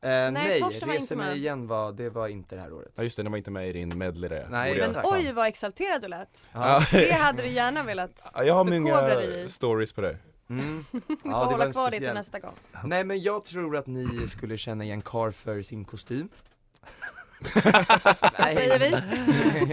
[SPEAKER 7] Eh, nej, nej
[SPEAKER 4] Torsten var
[SPEAKER 7] Reser
[SPEAKER 4] inte
[SPEAKER 7] mig
[SPEAKER 4] med.
[SPEAKER 7] igen var, det var inte det här året.
[SPEAKER 5] Ja just det, den var inte med i din medley där.
[SPEAKER 7] Nej,
[SPEAKER 5] Borde jag-
[SPEAKER 7] exakt.
[SPEAKER 4] Oj vad exalterad du lät.
[SPEAKER 5] Ja.
[SPEAKER 4] Det hade du gärna velat
[SPEAKER 5] Ja, Jag har
[SPEAKER 4] förkovra
[SPEAKER 5] många
[SPEAKER 4] dig i.
[SPEAKER 5] stories på det.
[SPEAKER 7] Mm.
[SPEAKER 4] Får
[SPEAKER 7] Ja, det var
[SPEAKER 4] hålla
[SPEAKER 7] en
[SPEAKER 4] kvar det till
[SPEAKER 7] speciell-
[SPEAKER 4] nästa gång.
[SPEAKER 7] Nej men jag tror att ni skulle känna igen Carl för sin kostym.
[SPEAKER 4] Vad säger vi?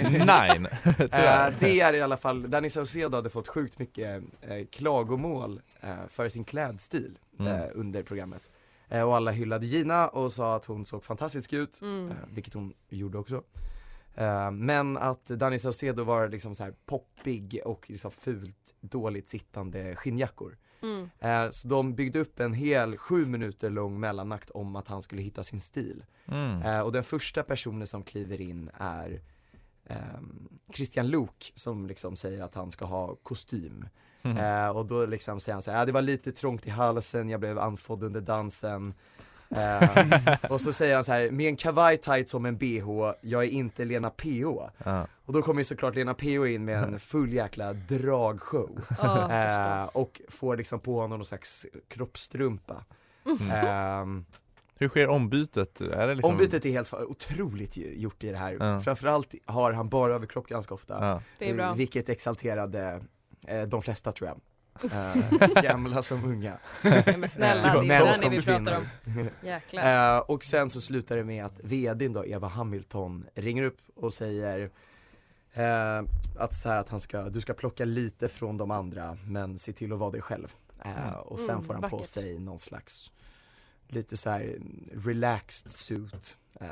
[SPEAKER 6] Nine,
[SPEAKER 7] Eh, det är i alla fall, Danny Saucedo hade fått sjukt mycket eh, klagomål eh, för sin klädstil eh,
[SPEAKER 6] Mm.
[SPEAKER 7] under programmet. Eh, och alla hyllade Gina och sa att hon såg fantastisk ut,
[SPEAKER 4] Mm.
[SPEAKER 7] eh, vilket hon gjorde också. Eh, men att Danny Saucedo var liksom så här poppig och liksom fult, dåligt sittande skinnjackor.
[SPEAKER 4] Mm.
[SPEAKER 7] Eh, så de byggde upp en hel sju minuter lång mellanakt om att han skulle hitta sin stil.
[SPEAKER 6] Mm.
[SPEAKER 7] Eh, och den första personen som kliver in är ehm, Christian Luuk som liksom säger att han ska ha kostym.
[SPEAKER 6] Mm.
[SPEAKER 7] Eh, och då liksom säger han så här, "Ah, det var lite trångt i halsen, jag blev andfådd under dansen. Eh, och så säger han så här, med en kavaj tight som en bh, jag är inte Lena PH.
[SPEAKER 6] Ja.
[SPEAKER 7] Och då kommer ju såklart Lena PH in med en full jäkla dragshow.
[SPEAKER 4] Ja,
[SPEAKER 7] Eh,
[SPEAKER 4] förstås.
[SPEAKER 7] och får liksom på honom någon slags kroppstrumpa.
[SPEAKER 6] Mm.
[SPEAKER 7] Ehm,
[SPEAKER 6] Hur sker ombytet? Är det liksom...
[SPEAKER 7] Ombytet är helt fa- otroligt ju- gjort i det här.
[SPEAKER 6] Ja.
[SPEAKER 7] Framförallt har han bara överkropp ganska ofta.
[SPEAKER 6] Ja.
[SPEAKER 4] Det är bra.
[SPEAKER 7] Vilket exalterade eh, de flesta tror jag. Eh, gamla som unga. Eh,
[SPEAKER 4] Nej, men
[SPEAKER 7] Det
[SPEAKER 4] snälla,
[SPEAKER 7] var
[SPEAKER 4] det
[SPEAKER 7] män
[SPEAKER 4] är Danny
[SPEAKER 7] som
[SPEAKER 4] vi pratar om.
[SPEAKER 7] försvinner.
[SPEAKER 4] Jäklar.
[SPEAKER 7] Eh, och sen så slutar det med att vdn då, Eva Hamilton, ringer upp och säger eh, att, så här, att han ska, du ska plocka lite från de andra men se till att vara dig själv. Eh, och sen
[SPEAKER 4] Mm,
[SPEAKER 7] får han på
[SPEAKER 4] vackert.
[SPEAKER 7] sig någon slags lite så här relaxed suit. Eh,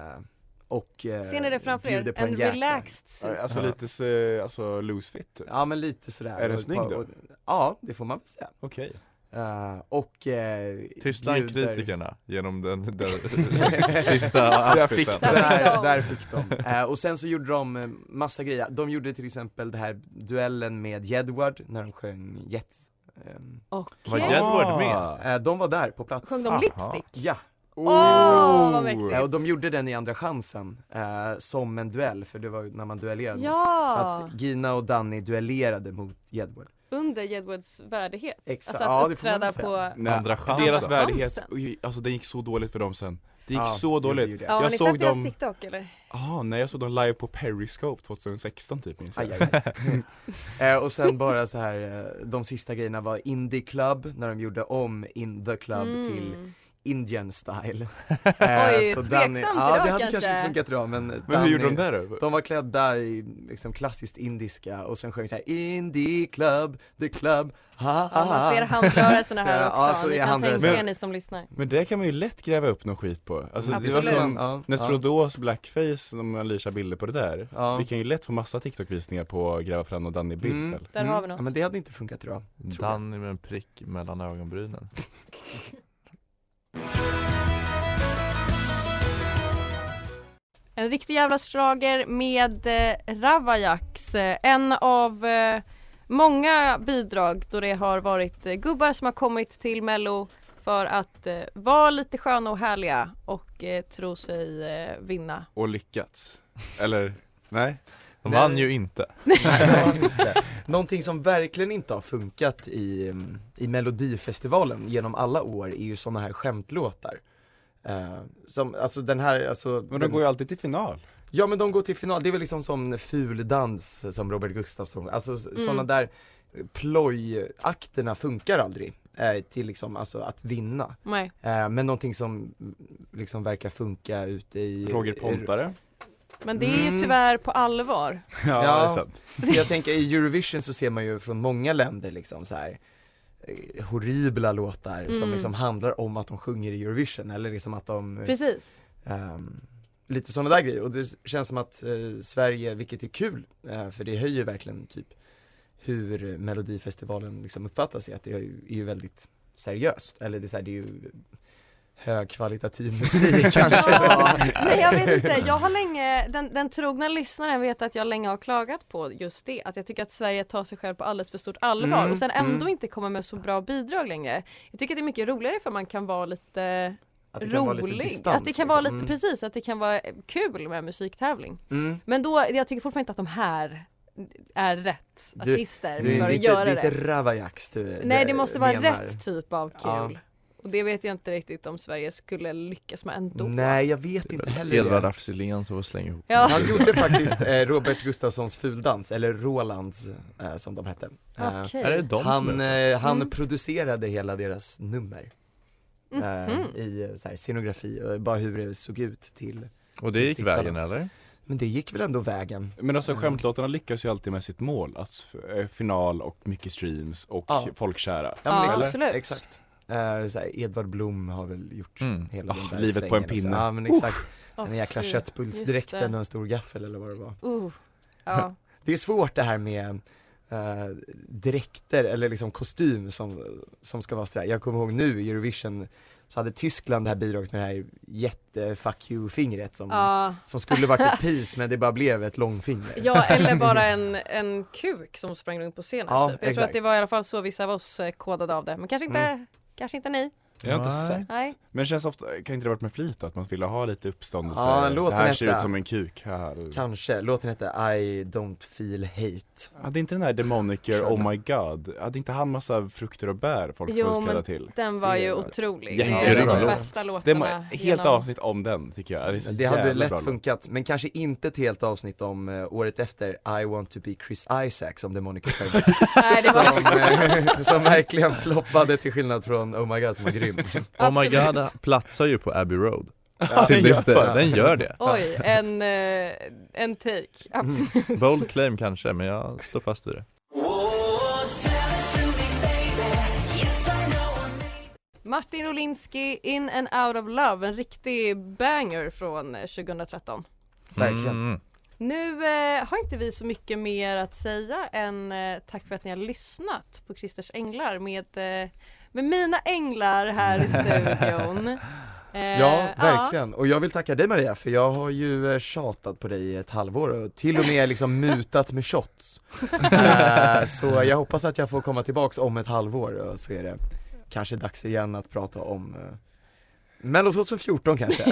[SPEAKER 7] och, eh,
[SPEAKER 4] Ser ni det framför
[SPEAKER 7] bjuder
[SPEAKER 4] er?
[SPEAKER 7] på
[SPEAKER 4] En
[SPEAKER 7] jäkla- Eh,
[SPEAKER 4] relaxed suit.
[SPEAKER 5] Alltså
[SPEAKER 6] Ja.
[SPEAKER 5] lite så, alltså loose fit typ.
[SPEAKER 7] Ja men lite sådär.
[SPEAKER 5] Är den
[SPEAKER 7] Och ett
[SPEAKER 5] snygg
[SPEAKER 7] par-
[SPEAKER 5] då?
[SPEAKER 7] och- Ja, det får man väl säga.
[SPEAKER 5] Okej.
[SPEAKER 7] Eh, och eh,
[SPEAKER 6] Tysta han
[SPEAKER 7] bjuder-
[SPEAKER 6] kritikerna genom den, den sista
[SPEAKER 5] Där fick
[SPEAKER 6] outfiten?
[SPEAKER 4] Där fick
[SPEAKER 7] Där,
[SPEAKER 4] de.
[SPEAKER 7] där fick de. Eh, och sen så gjorde de eh, massa grejer. De gjorde till exempel det här duellen med Jedward när de sjöng Jets. Ehm,
[SPEAKER 6] Var
[SPEAKER 4] Okej.
[SPEAKER 6] Jedward med?
[SPEAKER 7] eh, de var där på plats.
[SPEAKER 4] Sjöng de
[SPEAKER 6] Aha.
[SPEAKER 4] lipstick?
[SPEAKER 7] Ja,
[SPEAKER 4] Åh, oh, vad
[SPEAKER 7] eh, och de
[SPEAKER 4] mäktigt.
[SPEAKER 7] gjorde den i Andra chansen eh, som en duell, för det var ju när man duellerade. Så
[SPEAKER 4] Ja,
[SPEAKER 7] att Gina och Danny duellerade mot Jedward.
[SPEAKER 4] under Jedwards värdighet.
[SPEAKER 7] Exakt.
[SPEAKER 4] Alltså att
[SPEAKER 7] det får man
[SPEAKER 4] uppträda
[SPEAKER 7] väl säga.
[SPEAKER 4] på
[SPEAKER 5] Nej,
[SPEAKER 6] Andra chansen.
[SPEAKER 5] Deras värdighet,
[SPEAKER 4] Chansen.
[SPEAKER 5] oj, alltså den gick så dåligt för dem sen. Det gick
[SPEAKER 7] Ja,
[SPEAKER 5] så
[SPEAKER 7] det gjorde
[SPEAKER 5] dåligt.
[SPEAKER 7] ju det.
[SPEAKER 4] Ja, har
[SPEAKER 5] jag
[SPEAKER 4] ni
[SPEAKER 5] såg
[SPEAKER 4] sett deras
[SPEAKER 5] dem-
[SPEAKER 4] TikTok eller?
[SPEAKER 5] Ah, nej jag såg dem live på Periscope 2016 typ minns jag.
[SPEAKER 7] Aj, aj, aj. Eh, och sen bara så här, eh, de sista grejerna var Indie Club, när de gjorde om In The Club till
[SPEAKER 4] Mm.
[SPEAKER 7] Indian style. Eh,
[SPEAKER 4] Oj, tveksamt
[SPEAKER 7] Danny-
[SPEAKER 4] idag
[SPEAKER 7] Ja, det hade kanske
[SPEAKER 4] kanske.
[SPEAKER 7] inte funkat bra men
[SPEAKER 5] Men hur gjorde de där då?
[SPEAKER 7] De var klädda i liksom klassiskt indiska och sen sjöng så här Indie club, the club, ha ha
[SPEAKER 4] Ja, man ser
[SPEAKER 7] ha
[SPEAKER 4] handrörelserna här
[SPEAKER 7] Ja,
[SPEAKER 4] också.
[SPEAKER 7] alltså,
[SPEAKER 4] ni
[SPEAKER 7] jag
[SPEAKER 4] kan
[SPEAKER 7] handrörelser.
[SPEAKER 4] tänka er
[SPEAKER 7] Men-
[SPEAKER 4] ni som lyssnar.
[SPEAKER 5] Men det kan man ju lätt gräva upp någon skit på. Alltså det var
[SPEAKER 4] Absolut.
[SPEAKER 5] som
[SPEAKER 7] Ja,
[SPEAKER 5] när
[SPEAKER 7] ja.
[SPEAKER 5] Trudeaus blackface, om man leashar bilder på det där.
[SPEAKER 7] Ja.
[SPEAKER 5] Vi kan ju lätt få massa TikTok-visningar på att gräva fram någon Danny-bild
[SPEAKER 7] Mm.
[SPEAKER 5] väl?
[SPEAKER 4] Där har vi något.
[SPEAKER 7] Ja, men det hade inte funkat idag. Tror jag.
[SPEAKER 6] Danny med en prick mellan ögonbrynen.
[SPEAKER 4] En riktig jävla schlager med eh, Ravajaks. Eh, En av eh, många bidrag då det har varit eh, gubbar som har kommit till Mello för att eh, vara lite sköna och härliga och eh, tro sig eh, vinna.
[SPEAKER 5] Och lyckats. Eller? Nej?
[SPEAKER 6] De
[SPEAKER 7] Nej.
[SPEAKER 6] vann ju inte.
[SPEAKER 7] Nej, det var inte. Någonting som verkligen inte har funkat i, mm, i Melodifestivalen genom alla år är ju sådana här skämtlåtar. Eh, som, alltså den här, alltså
[SPEAKER 5] Men de
[SPEAKER 7] den,
[SPEAKER 5] går ju alltid till final.
[SPEAKER 7] Ja men de går till final, det är väl liksom som Fuldans som Robert Gustafsson, alltså mm. sådana där plojakterna funkar aldrig eh, till liksom, alltså att vinna.
[SPEAKER 4] Nej.
[SPEAKER 7] Eh, men någonting som liksom verkar funka ute i
[SPEAKER 5] Roger Pontare.
[SPEAKER 4] Men det är ju
[SPEAKER 7] Mm.
[SPEAKER 4] tyvärr på allvar.
[SPEAKER 5] Ja,
[SPEAKER 7] Ja.
[SPEAKER 5] det är sant.
[SPEAKER 7] Jag tänker i Eurovision så ser man ju från många länder liksom så här eh, horribla låtar som
[SPEAKER 4] Mm.
[SPEAKER 7] liksom handlar om att de sjunger i Eurovision eller liksom att de eh,
[SPEAKER 4] Precis.
[SPEAKER 7] Ehm, lite sådana där grejer och det känns som att eh, Sverige, vilket är kul, eh, för det höjer verkligen typ hur Melodifestivalen liksom uppfattas i att det är ju, är ju väldigt seriöst, eller det är, så här, det är ju högkvalitativ musik kanske.
[SPEAKER 4] Ja, nej jag vet inte, jag har länge, den, den trogna lyssnaren vet att jag länge har klagat på just det, att jag tycker att Sverige tar sig själv på alldeles för stort allvar
[SPEAKER 7] Mm,
[SPEAKER 4] och sen ändå
[SPEAKER 7] mm.
[SPEAKER 4] inte kommer med så bra bidrag längre. Jag tycker att det är mycket roligare för man kan vara lite
[SPEAKER 7] Att det
[SPEAKER 4] rolig,
[SPEAKER 7] kan vara lite distans,
[SPEAKER 4] att det kan vara
[SPEAKER 7] liksom.
[SPEAKER 4] lite,
[SPEAKER 7] Mm.
[SPEAKER 4] precis, att det kan vara kul med musiktävling.
[SPEAKER 7] Mm.
[SPEAKER 4] Men då, jag tycker fortfarande inte att de här är rätt
[SPEAKER 7] Du-
[SPEAKER 4] artister
[SPEAKER 7] du är
[SPEAKER 4] för att
[SPEAKER 7] lite-
[SPEAKER 4] göra
[SPEAKER 7] det är
[SPEAKER 4] det.
[SPEAKER 7] inte Ravaillax du
[SPEAKER 4] Nej
[SPEAKER 7] du
[SPEAKER 4] det måste vara
[SPEAKER 7] menar.
[SPEAKER 4] rätt typ av
[SPEAKER 7] Ja.
[SPEAKER 4] kul. Och det vet jag inte riktigt om Sverige skulle lyckas med ändå.
[SPEAKER 7] Nej jag vet inte heller
[SPEAKER 6] Edvard
[SPEAKER 7] det.
[SPEAKER 6] af Sillén som slänger ihop
[SPEAKER 4] Ja.
[SPEAKER 7] Han gjorde faktiskt eh, Robert Gustafssons fuldans, eller Rolands eh, som de hette eh,
[SPEAKER 6] Okej. Är det de som
[SPEAKER 7] Han,
[SPEAKER 6] heter?
[SPEAKER 7] eh, han
[SPEAKER 6] Mm.
[SPEAKER 7] producerade hela deras nummer eh,
[SPEAKER 6] Mhm.
[SPEAKER 7] I eh, så här, scenografi, och bara hur det såg ut till
[SPEAKER 6] Och det
[SPEAKER 7] till
[SPEAKER 6] gick
[SPEAKER 7] tittarna.
[SPEAKER 6] vägen eller?
[SPEAKER 7] Men det gick väl ändå vägen
[SPEAKER 5] Men alltså
[SPEAKER 7] Mm.
[SPEAKER 5] skämtlåtarna lyckas ju alltid med sitt mål, alltså eh, final och mycket streams och
[SPEAKER 7] Ja.
[SPEAKER 5] folkkära
[SPEAKER 7] Ja, men exakt,
[SPEAKER 5] Eller?
[SPEAKER 7] exakt. Eh, så här, Edvard Blom har väl gjort
[SPEAKER 5] Mm.
[SPEAKER 7] hela
[SPEAKER 5] Ah,
[SPEAKER 7] den där
[SPEAKER 5] livet på en
[SPEAKER 7] svängen och så.
[SPEAKER 5] pinne.
[SPEAKER 7] Ja men exakt,
[SPEAKER 4] Åh,
[SPEAKER 7] den där jäkla
[SPEAKER 4] fy.
[SPEAKER 7] köttbullsdräkten
[SPEAKER 4] Just det.
[SPEAKER 7] och en stor gaffel eller vad det var
[SPEAKER 4] Uh, ja.
[SPEAKER 7] Det är svårt det här med eh, dräkter eller liksom kostym som, som ska vara sådär, jag kommer ihåg nu i Eurovision så hade Tyskland det här bidraget med det här jätte fuck you fingret som,
[SPEAKER 4] Ja.
[SPEAKER 7] som skulle varit ett pis men det bara blev ett långfinger
[SPEAKER 4] ja, eller bara en, en kuk som sprang runt på scenen.
[SPEAKER 7] Ja,
[SPEAKER 4] typ. Jag tror
[SPEAKER 7] exakt.
[SPEAKER 4] att det var i alla fall så vissa av oss eh, kodade av det. Men kanske inte,
[SPEAKER 5] Mm.
[SPEAKER 4] kanske inte ni.
[SPEAKER 5] Jag har inte
[SPEAKER 4] Nej.
[SPEAKER 5] sett.
[SPEAKER 4] Nej.
[SPEAKER 5] Men det känns ofta, kan inte det varit med flit då, att man ville ha lite uppståndelse?
[SPEAKER 7] Ja,
[SPEAKER 5] det
[SPEAKER 7] låten
[SPEAKER 5] här ser
[SPEAKER 7] hette-
[SPEAKER 5] ut som en kuk här.
[SPEAKER 7] Kanske, låten hette I don't feel hate
[SPEAKER 5] Hade inte den här Demoniker, Oh my god, hade inte han massa frukter och bär folk
[SPEAKER 4] Jo,
[SPEAKER 5] folkkärra
[SPEAKER 4] men
[SPEAKER 5] till?
[SPEAKER 4] den var ju otrolig. Det är en
[SPEAKER 5] Jättegrym
[SPEAKER 4] av de
[SPEAKER 5] låt.
[SPEAKER 4] bästa låtarna
[SPEAKER 5] Det var helt
[SPEAKER 4] genom-
[SPEAKER 5] avsnitt om den tycker jag, det är så
[SPEAKER 7] Det hade
[SPEAKER 5] jävla
[SPEAKER 7] lätt
[SPEAKER 5] bra låt.
[SPEAKER 7] funkat, men kanske inte ett helt avsnitt om eh, året efter I want to be Chris Isaac som det är Monica Ferber
[SPEAKER 4] Nej, det var-
[SPEAKER 7] som, eh, som verkligen floppade till skillnad från Oh My God som var grym
[SPEAKER 6] Oh my god platsar ju på Abbey Road
[SPEAKER 7] Ja,
[SPEAKER 6] Till
[SPEAKER 7] den gör
[SPEAKER 6] listor,
[SPEAKER 7] det.
[SPEAKER 6] den gör det
[SPEAKER 4] Oj, en, eh, en take. Absolut.
[SPEAKER 6] Bold claim kanske men jag står fast vid det
[SPEAKER 4] Martin Rolinski, In and out of love, en riktig banger från eh, 2013.
[SPEAKER 7] Verkligen
[SPEAKER 6] Mm.
[SPEAKER 4] Nu eh, har inte vi så mycket mer att säga än eh, tack för att ni har lyssnat på Christers Änglar med, eh, med mina änglar här i studion. Eh,
[SPEAKER 7] Ja, verkligen. Och jag vill tacka dig Maria, för jag har ju eh, tjatat på dig i ett halvår och till och med liksom mutat med shots. Eh, så jag hoppas att jag får komma tillbaks om ett halvår och så är det kanske dags igen att prata om eh, Mello 2014 kanske.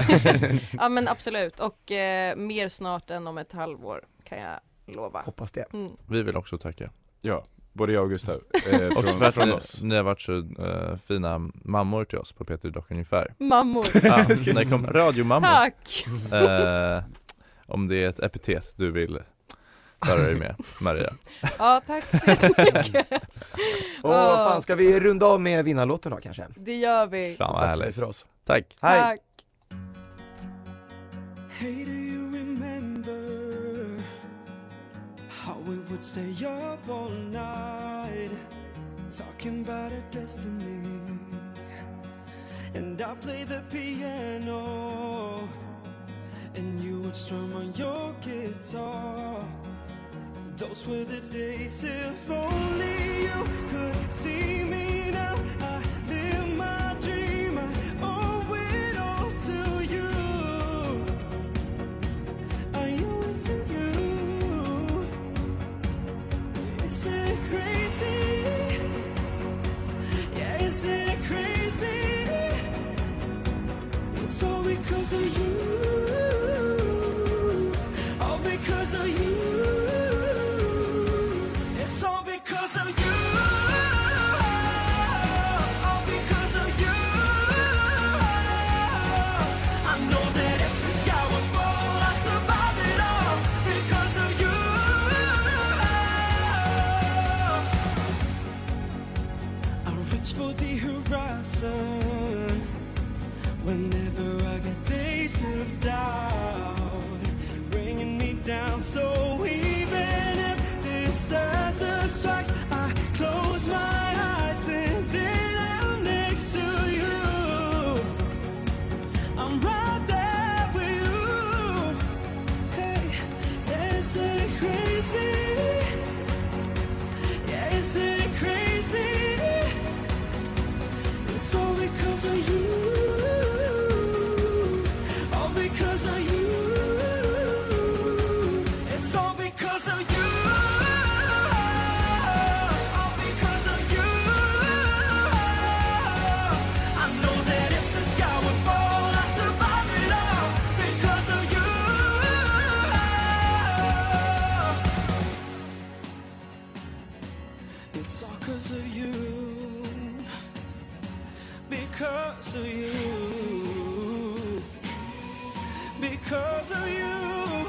[SPEAKER 4] Ja men absolut och eh, mer snart än om ett halvår kan jag lova.
[SPEAKER 7] Hoppas det.
[SPEAKER 4] Mm.
[SPEAKER 6] Vi vill också tacka
[SPEAKER 5] Ja, både jag och Gustav
[SPEAKER 6] Och
[SPEAKER 5] eh,
[SPEAKER 6] Också
[SPEAKER 5] från,
[SPEAKER 6] för att
[SPEAKER 5] från
[SPEAKER 6] ni,
[SPEAKER 5] oss
[SPEAKER 6] ni har varit så eh, fina mammor till oss på Peter Dock ungefär
[SPEAKER 4] Mammor.
[SPEAKER 6] Ja, ni kom radiomammor
[SPEAKER 4] Tack.
[SPEAKER 6] Eh, Om det är ett epitet du vill föra dig med Maria
[SPEAKER 4] Ja tack så jättemycket.
[SPEAKER 7] Och vad fan, ska vi runda av med vinnarlåten då kanske?
[SPEAKER 4] Det gör vi.
[SPEAKER 6] Fan vad härligt
[SPEAKER 7] för oss.
[SPEAKER 6] Tack
[SPEAKER 7] Hej!
[SPEAKER 4] Tack.
[SPEAKER 9] Hey, do you remember how we would stay up all night talking about our destiny? And I played the piano, and you would strum on your guitar. Those were the days if only you could see me now. I live my dream, I owe it all to you. I owe it to you. Is it crazy? Yeah, is it crazy? It's all because of you. All because of you. It's all because of you. All because of you. I know that if the sky would fall, I survived it all because of you. I reach for the horizon. Whenever I get days of doubt, bringing me down. So even if disaster strikes, I close my eyes and then I'm next to you. I'm right there with you. Hey, is it crazy? Yeah, is it crazy? It's all because of you. It's all cause of you. Because of you. Because of you.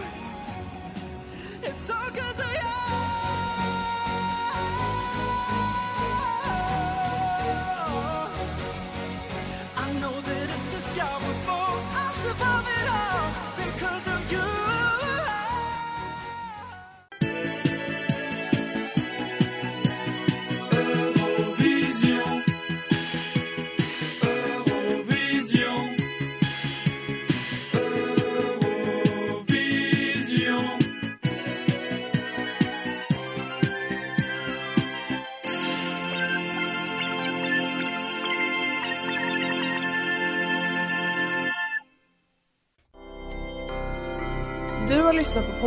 [SPEAKER 9] It's all cause of you. I know that if the sky would fall, I'll survive it all. Because of you.
[SPEAKER 8] Eurovision. Eurovision. Eurovision.
[SPEAKER 10] Du har lyssnat på